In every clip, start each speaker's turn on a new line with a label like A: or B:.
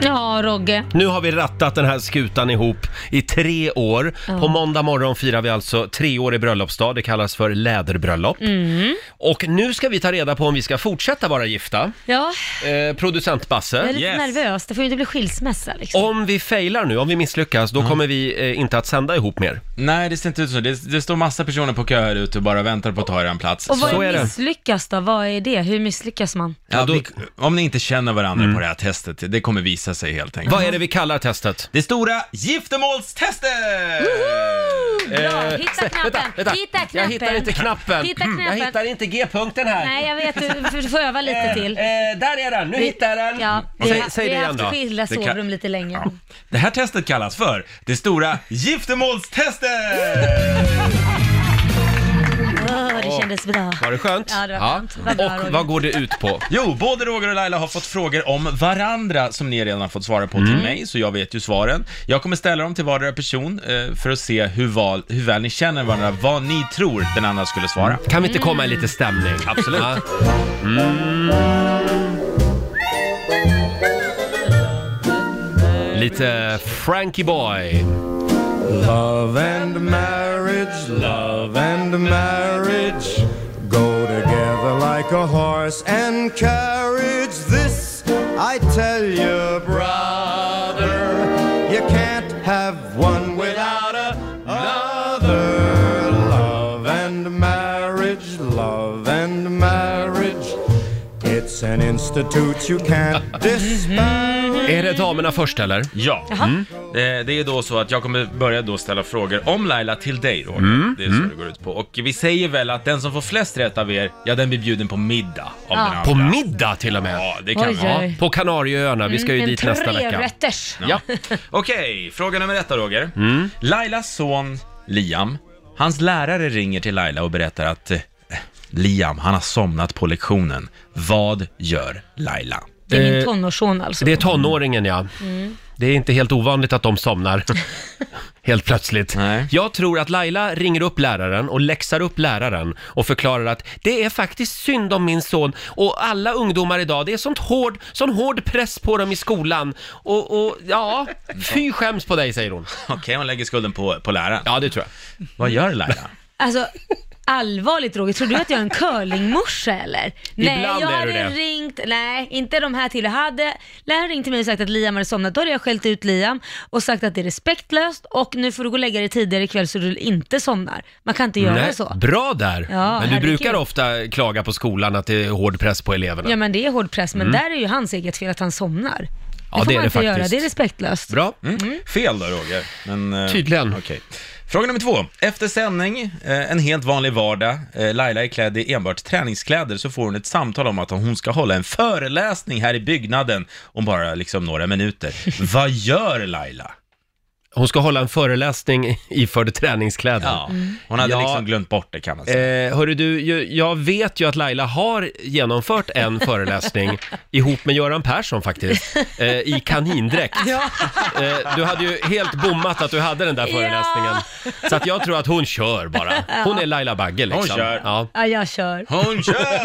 A: Mm.
B: Ja, Rogge.
A: Nu har vi rattat den här skutan ihop i tre år. På måndag morgon firar vi alltså treårig bröllopsdag. Det kallas för läderbröllop.
B: Mm.
A: Och nu ska vi ta reda på om vi ska fortsätta vara gifta.
B: Ja,
A: Eh, producent
B: jag är
A: Basse.
B: lite
C: Yes.
B: nervös. Det får ju inte bli skilsmässa liksom.
A: Om vi failar nu, om vi misslyckas, då kommer vi eh, inte att sända ihop mer.
C: Nej, det ser inte ut så. Det, det står massa personer på köer ute och bara väntar på att ta er en plats.
B: Och vad
A: Så
B: är
A: är det.
B: misslyckas då? Vad är det? Hur misslyckas man?
C: Ja,
A: då-
C: vi, om ni inte känner varandra på det här testet, det kommer visa sig helt enkelt.
A: Vad är det vi kallar testet?
C: Det stora giftermålstestet!
B: Bra,
A: Eh,
B: hitta
A: se-
B: knappen!
A: vänta, vänta.
B: Hitta knappen!
A: Jag hittar inte knappen.
B: Hitta knappen.
A: Jag hittar inte G-punkten här.
B: Nej, jag vet. Du får- får öva lite
A: Eh,
B: till.
A: eh, där är den, nu hittar jag den!
B: Ja,
A: Och
B: vi,
A: säg,
B: har-
A: säg
B: vi
A: det
B: har
A: igen
B: haft
A: då.
B: skilda
C: Det kan-
B: sovrum lite länge.
C: Det här testet kallas för det stora giftermålstestet!
B: Åh, det kändes bra.
A: Var det skönt?
B: Ja, det var skönt. Vad bra, Roger.
A: Och vad går det ut på?
C: Jo, både Roger och Laila har fått frågor om varandra som ni redan har fått svara på till mig, så jag vet ju svaren. Jag kommer ställa dem till vardera person eh, för att se hur, val, hur väl ni känner varandra, vad ni tror den andra skulle svara.
A: Kan vi inte komma i lite stämning?
C: Mm.
A: Absolut. Ja. Mm. Lite Frankie Boy.
D: Love and marriage, love and marriage go together like a horse and carriage. This I tell you, brother, you can't have one without another. Love and marriage, love and marriage. It's an institute you can't disparage.
A: Är det damerna först eller?
C: Ja, Mm. Eh, det är då så att jag kommer börja då ställa frågor om Laila till dig Roger.
D: Mm.
C: Det är så det går ut på. Och vi säger väl att den som får flest rätt av er, ja den blir bjuden på middag av den andra.
A: På middag till och med.
C: Ja, det kan
B: Oj,
C: vi. Ja.
B: oj.
A: På Kanarieöarna, vi
B: Mm,
A: ska ju dit nästa vecka.
B: trerätters.
A: Ja.
C: Okej, fråga nummer ett då Roger.
D: Mm.
C: Lailas son Liam, hans lärare ringer till Laila och berättar att eh, Liam, han har somnat på lektionen. Vad gör Laila?
B: Det är min
A: Eh,
B: tonårsson alltså.
A: Det är tonåringen ja.
B: Mm.
A: Det är inte helt ovanligt att de somnar. Helt plötsligt.
C: Nej.
A: Jag tror att Laila ringer upp läraren och läxar upp läraren och förklarar att det är faktiskt synd om min son och alla ungdomar idag, det är sånt hård, sån hård press på dem i skolan och, och ja, fy skäms på dig säger hon.
C: Okej, hon lägger skulden på, på läraren.
A: Ja, det tror jag.
C: Vad gör Laila?
B: Alltså, allvarligt Roger, tror du att jag är en curlingmorsa eller? nej,
A: Ibland
B: jag
A: är
B: hade
A: du det.
B: ringt, nej, inte de här till. Hade läraren ringt till mig och sagt att Liam hade somnat, då hade jag skällt ut Liam och sagt att det är respektlöst och nu får du gå och lägga dig tidigare ikväll så du inte somnar. Man kan inte göra
A: Nej,
B: så.
A: Bra där!
B: Ja,
A: Men du
B: herregud.
A: brukar ofta klaga på skolan att det är hård press på eleverna.
B: Ja men det är hård press, men där är ju hans eget fel att han somnar.
A: Mm. Ja,
B: det får man inte
A: det är det
B: göra,
A: faktiskt.
B: det är respektlöst.
A: Bra.
C: Mm. Fel då Roger. Men, eh,
A: Tydligen.
C: Okej. Fråga nummer två. Efter sändning, eh, en helt vanlig vardag, eh, Laila är klädd i enbart träningskläder, så får hon ett samtal om att hon ska hålla en föreläsning här i byggnaden om bara liksom några minuter. Vad gör Laila?
A: Hon ska hålla en föreläsning iförd träningskläder.
C: Ja, hon hade
A: Ja.
C: liksom glömt bort det kan man säga.
A: Eh, hörru du, ju- jag vet ju att Laila har genomfört en föreläsning ihop med Göran Persson faktiskt, eh, i kanindräkt. Eh, du hade ju helt bommat att du hade den där föreläsningen. Så att jag tror att hon kör bara. Hon är Laila Bagge liksom.
C: Hon kör.
A: Ja.
B: Ja, jag kör.
C: Hon kör!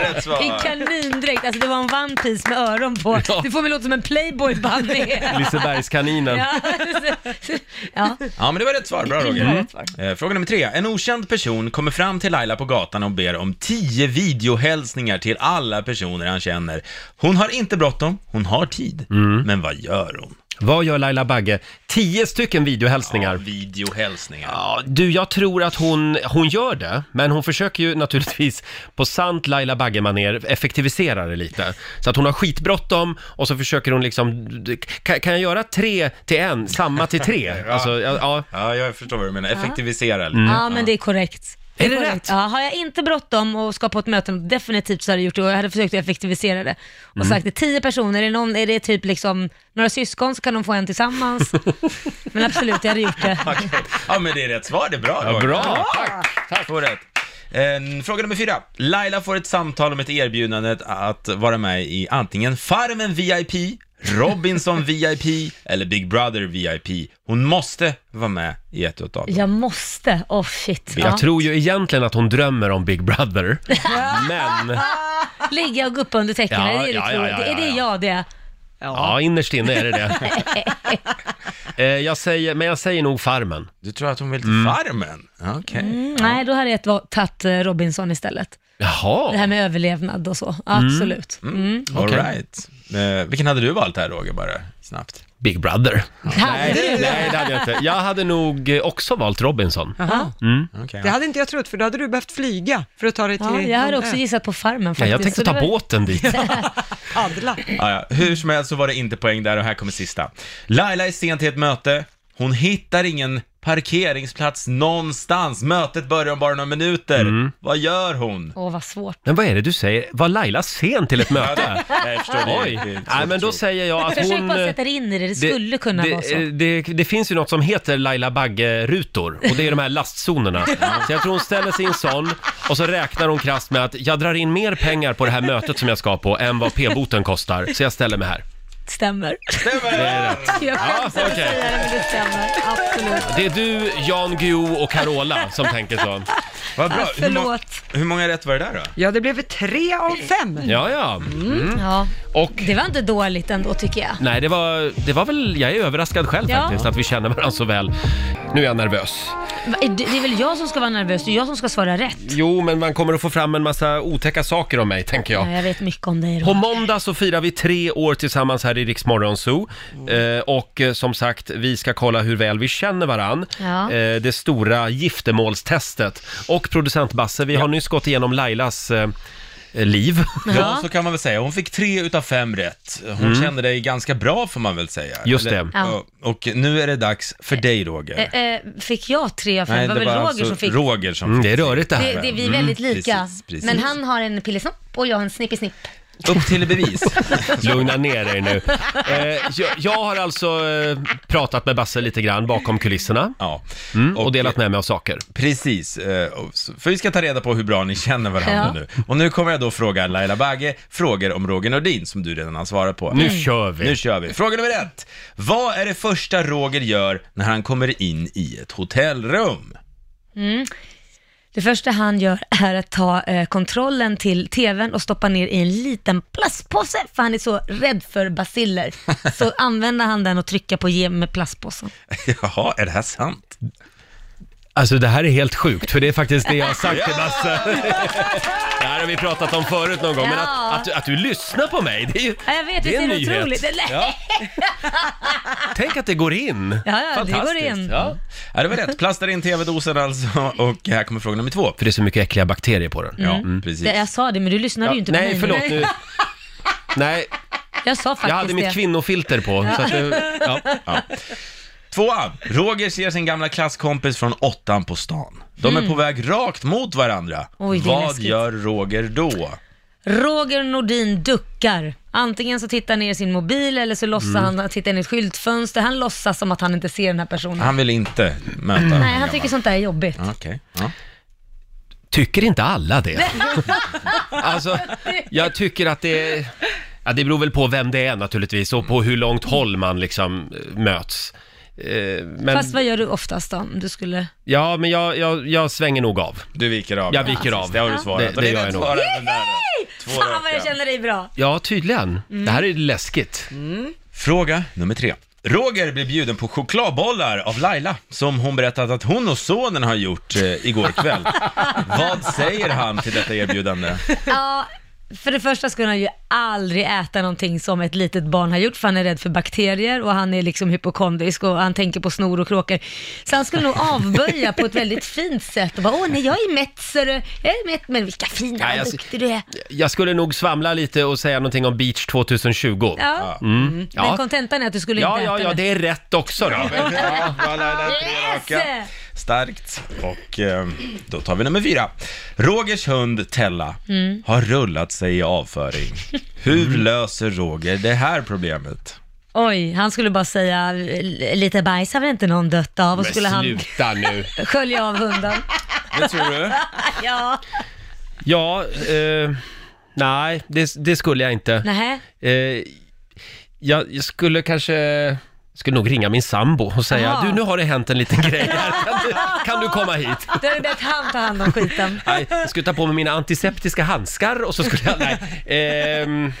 C: Rätt svar!
B: I kanindräkt, alltså det var en one piece med öron på.
A: Ja.
B: Du får mig låta som en playboy bunny.
A: Lisebergskaninen.
B: ja. ja.
C: Ja, men det var rätt svar. Bra Roger.
B: Mm.
A: Mm.
C: Eh, Fråga nummer tre. En okänd person kommer fram till Laila på gatan och ber om tio videohälsningar till alla personer han känner. Hon har inte bråttom, hon har tid.
A: Mm.
C: Men vad gör hon?
A: Vad gör Laila Bagge? Tio stycken videohälsningar.
C: Videohälsningar.
A: Ja, du, jag tror att hon, hon gör det, men hon försöker ju naturligtvis på sant Laila Bagge-manér effektivisera det lite. Så att hon har skitbråttom och så försöker hon liksom, kan, kan jag göra tre till en, samma till tre? Alltså, ja, ja.
C: Ja, jag förstår vad du menar. Effektivisera lite.
B: ja, men det är korrekt.
A: Är det
B: korrekt.
A: rätt?
B: Ja, har jag inte bråttom och ska på ett möte, definitivt så hade jag gjort det och jag hade försökt att effektivisera det. Och
A: Mm.
B: sagt till tio personer, är det, någon, är det typ liksom några syskon så kan de få en tillsammans. men absolut, jag hade gjort det.
C: Okej. Ja, men det är rätt svar. Det är bra
A: ja
C: Roger.
A: bra!
C: Tack. Får rätt. Eh, Fråga nummer fyra. Laila får ett samtal om ett erbjudande att vara med i antingen Farmen VIP, Robinson VIP eller Big Brother VIP. Hon måste vara med i ett utav dem.
B: Jag måste, oh shit. Ja.
A: Jag tror ju egentligen att hon drömmer om Big Brother, men...
B: Ligga och gå upp under täckena,
A: Ja,
B: är det
A: ja,
B: ja,
A: ja, ja,
B: Är det
A: ja, ja.
B: jag det?
A: Ja, innerst inne är det det. Eh, jag säger, men jag säger nog Farmen.
C: Du tror att hon vill till Farmen? Okej.
B: Mm, nej, då hade jag va- tagit eh, Robinson istället. Det
A: Jaha,
B: här med överlevnad och så, absolut. Mm.
C: All
A: Okej.
C: right. Eh, vilken hade du valt här Roger, bara snabbt?
A: Big Brother.
B: Hade du?
A: Nej, det hade jag inte. Jag hade nog eh, också valt Robinson.
E: Jaha.
C: Okej.
E: Det hade inte jag trott, för då hade du behövt flyga för att ta dig till
B: Ja, jag hade
E: någon
B: också
E: ö.
B: gissat på Farmen
A: Nej,
B: faktiskt.
A: jag
B: så
A: tänkte
B: det
A: ta
B: var-
A: båten dit.
E: Paddla.
C: Ah, ja. Hur som helst så var det inte poäng där och här kommer sista. Laila är sen till ett möte. Hon hittar ingen parkeringsplats någonstans. Mötet börjar om bara några minuter. Vad gör hon?
B: Åh, vad svårt.
A: Men vad är det du säger? Var Laila sen till ett möte?
C: Jag förstår det.
A: Oj!
C: Det är inte
A: Nej,
C: så
A: men då
C: klokt.
A: säger jag att
B: Försök
A: hon... eh,
B: bara sätta dig in i det, det skulle kunna
A: det,
B: vara så.
A: eh, Det, det finns ju något som heter Laila Bagge-rutor och det är de här lastzonerna. Så jag tror hon ställer sig i en sån och så räknar hon krasst med att jag drar in mer pengar på det här mötet som jag ska på än vad p-boten kostar, så jag ställer mig här.
B: Stämmer.
C: Stämmer det?
B: Jag skäms över att
A: okej.
B: säga det, men det stämmer. Absolut.
A: Det är du, Jan Guillou och Carola som tänker så.
C: Vad bra.
B: Ah,
C: Hur, må-
B: förlåt.
C: hur många rätt var det där då?
E: Ja, det blev tre av fem.
A: Ja, ja.
B: Ja,
A: Och
B: det var inte dåligt ändå tycker jag.
A: nej, det var, det var väl, jag är överraskad själv
B: Ja.
A: faktiskt att vi känner varandra så väl. Nu är jag nervös.
B: Va, är Det det är väl jag som ska vara nervös, det är jag som ska svara rätt.
A: Jo, men man kommer att få fram en massa otäcka saker om mig, tänker jag.
B: Ja, jag vet mycket om dig
A: På
B: Roger.
A: måndag så firar vi tre år tillsammans här i Riksmorgon Zoo. Eh, och eh, som sagt, vi ska kolla hur väl vi känner varann.
B: Ja.
A: Eh, det stora giftermålstestet. Och producent Basse, vi har nyss gått igenom Lailas eh, liv.
C: Ja, så kan man väl säga. Hon fick tre utav fem rätt. Hon kände dig ganska bra får man väl säga.
A: Mm. Just det.
B: Ja.
C: Och nu är det dags för dig Roger.
B: Eh, eh, Fick jag tre av fem? det var väl Roger
C: alltså
B: som fick?
C: Roger som
A: Mm,
C: fick.
A: det är rörigt det här.
B: Det, det, vi är väldigt lika.
C: precis, precis.
B: Men han har en pillesnopp och jag har en snippisnipp.
C: Upp till bevis.
A: Lugna ner dig nu. Eh, jag, jag har alltså eh, pratat med Basse lite grann bakom kulisserna.
C: ja.
A: Mm, och delat med mig av saker.
C: Precis, eh, och så- för vi ska ta reda på hur bra ni känner varandra
B: Ja.
C: nu. Och nu kommer jag då fråga Laila Bagge frågor om Roger Nordin som du redan har svarat på.
A: Nu kör vi!
C: Nu kör vi. Fråga nummer ett. Vad är det första Roger gör när han kommer in i ett hotellrum?
B: Det första han gör är att ta eh, kontrollen till tvn och stoppa ner i en liten plastpåse, för han är så rädd för basiller. Så använder han den och trycker på ge med plastpåsen.
C: Jaha, är det här sant?
A: Alltså det här är helt sjukt, för det är faktiskt det jag har sagt till Basse. Det här har vi pratat om förut någon gång, men
B: Ja.
A: att, att, du- att du lyssnar på mig, det är ju...
B: Ja, jag vet,
A: det
B: visst
A: är
B: är
A: en
B: det
A: nyhet.
B: otroligt? Nej.
A: Ja. Tänk att det går in.
B: Ja, ja, det går
A: Fantastiskt.
B: in.
A: Ja.
C: Ja, det var rätt. Plastar in tv-dosen alltså. Och här kommer fråga nummer två.
A: För det är så mycket äckliga bakterier på den.
C: Ja, precis.
B: Det, jag sa Mm. det, men du lyssnade
A: Ja,
B: ju inte på
A: nej,
B: mig.
A: förlåt nu. Nej,
B: Jag sa faktiskt
A: jag hade
B: det.
A: mitt kvinnofilter på. Så att det, ja.
C: Tvåan. Roger ser sin gamla klasskompis från åttan på stan. De är på väg rakt mot varandra.
B: Mm. Oj, det är
C: Vad
B: läskigt.
C: gör Roger då?
B: Roger Nordin duckar. Antingen så tittar han ner i sin mobil eller
A: Mm.
B: så låtsas han att titta in i ett skyltfönster. Han låtsas som att han inte ser den här
A: Ah.
B: personen.
C: Han vill inte möta den
B: Nej,
C: här
B: han tycker
C: gamla-
B: sånt där är jobbigt.
C: Okej. Ja.
A: Tycker inte alla det? alltså, jag tycker att det... Ja, det beror väl på vem det är naturligtvis och på hur långt håll man liksom eh, möts. Eh, Men,
B: Fast vad gör du oftast då? Om du skulle...
A: Ja, men jag, jag, jag svänger nog av.
C: Du viker av.
A: Jag viker
C: precis.
A: av.
C: Det har du svarat.
A: Det-
C: Och
A: det gör jag
C: rätt
A: nog.
C: svar även där. Två
B: Fan vad
C: raka.
B: jag känner dig bra!
A: Ja, tydligen. Det här är
B: Mm.
A: läskigt.
C: Fråga nummer tre. Roger blir bjuden på chokladbollar av Laila, som hon berättat att hon och sonen har gjort eh, igår kväll. Vad säger han till detta erbjudande?
B: Ja, för det första skulle han ju aldrig äta någonting som ett litet barn har gjort, för han är rädd för bakterier och han är liksom hypokondrisk och han tänker på snor och kråkor. Så han skulle nog avböja på ett väldigt fint sätt och bara, åh nej, jag är mätt, så du, jag är mätt, men vilka fina,
A: Nej, alltså,
B: vad
A: jag-
B: duktig du är.
A: Jag skulle nog svamla lite och säga någonting om Beach 2020.
B: Ja,
A: Mm.
B: men
A: Ja.
B: kontentan är att du skulle
A: Ja,
B: inte
A: ja,
B: äta
A: ja, det är rätt också då.
C: Ja, bra, Laila, tre
B: Yes!
C: raka. Starkt. Och eh, då tar vi nummer fyra. Rogers hund Tella
B: Mm.
C: har rullat sig i avföring. Hur
A: Mm.
C: löser Roger det här problemet?
B: Oj, han skulle bara säga, lite bajs har väl inte någon dött av och så skulle
A: Men
B: han
A: sluta nu.
B: skölja av hunden.
C: Det tror du?
B: Ja,
A: Ja, eh, nej, det, det skulle jag inte.
B: nähä.
A: Eh, jag, jag skulle kanske... Skulle nog ringa min sambo och säga,
B: Jaha.
A: du nu har det hänt en liten grej här, kan du, kan du komma hit?
B: Då är det bättre att han tar hand om skiten.
A: Nej, jag skulle ta på mig mina antiseptiska handskar och så skulle jag... Nej. Ehm,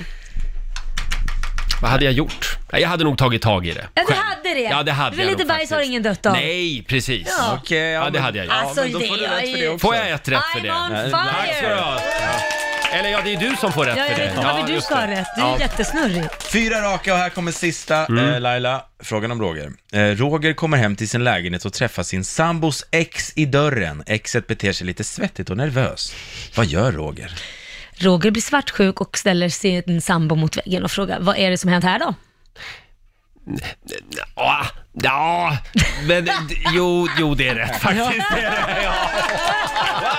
A: Vad hade jag gjort? Nej, Jag hade nog tagit tag i det.
B: Ja, du
A: själv.
B: hade det.
A: Ja, det hade
B: Men
A: jag
B: lite
A: nog
B: bajs har
A: faktiskt.
B: ingen dött av.
A: Nej, precis.
B: Ja.
C: Okej, eh, ja,
A: Ja, det
C: men-
A: hade jag gjort.
B: Alltså,
C: men då får
B: det
C: du rätt
B: är
C: för
B: ju-
C: det också.
A: Får jag ett rätt för det?
B: I'm on
C: Nej,
A: Tack ska du
B: fire!
A: ha. Eller ja, det är du som får rätt
B: Ja, jag
A: för
B: vet
A: det.
B: inte varför du
A: just
B: ska ha
A: det.
B: rätt. Du är
A: Ja.
B: jättesnurrig.
C: Fyra raka och här kommer sista,
A: Mm.
C: eh, Laila. Frågan om Roger. Eh, Roger kommer hem till sin lägenhet och träffar sin sambos ex i dörren. Exet beter sig lite svettigt och nervös. Vad gör Roger?
B: Roger blir svartsjuk och ställer sin sambo mot väggen och frågar, vad är det som hänt här då?
A: Ja, ja, men d- jo, jo, det är rätt faktiskt. Det är det, ja.
B: Ja.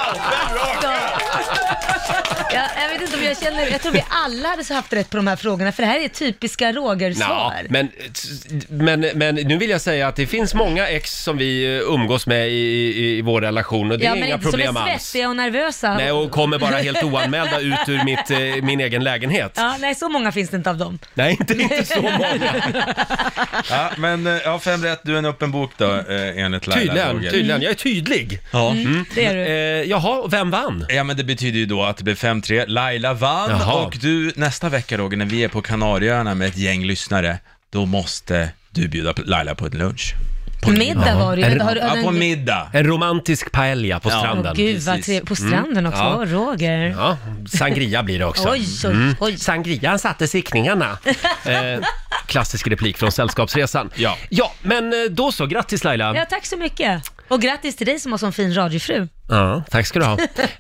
B: Jag, jag vet inte om jag känner, jag tror vi alla hade haft rätt på de här frågorna, för det här är typiska
A: Ja,
B: Roger-svar.
A: men, men, men nu vill jag säga att det finns många ex som vi eh, umgås med i, i, i vår relation och det
B: Ja,
A: är
B: men
A: inga
B: inte som
A: problem
B: är
A: alls.
B: svettiga och nervösa.
A: Nej, och kommer bara helt oanmälda ut ur mitt, eh, min egen lägenhet.
B: Ja, nej, så många finns det inte av dem.
A: Nej, inte, inte så många.
C: Ja, men eh, ja, fem rätt, du är en öppen bok då, eh, enligt Laila.
A: Tydligen,
C: Roger.
A: tydligen. Jag är tydlig.
C: Ja. Mm.
B: Det är
A: Eh,
B: du.
A: jaha, vem vann?
C: Ja men det betyder ju då att det blev 5-3. Laila vann
A: Jaha.
C: och du, nästa vecka Roger, när vi är på Kanarieöarna med ett gäng lyssnare, då måste du bjuda Laila på en lunch.
B: Middag var det ju. Har du- har
C: Ja,
B: du
C: på
B: en-
C: middag.
A: En romantisk paella på stranden.
B: Åh, Gud vad
C: precis.
B: trevligt. På stranden också.
A: Mm. Ja. Mm.
B: Åh, Roger.
A: Ja, sangria blir det också.
B: Oj, oj, oj.
A: Sangrian satte siktningarna. Eh, klassisk replik från Sällskapsresan.
C: Ja.
A: ja, men eh, då så. Grattis Laila.
B: Ja, tack så mycket. Och grattis till dig som har sån fin radiofru.
A: Ja, tack ska du ha.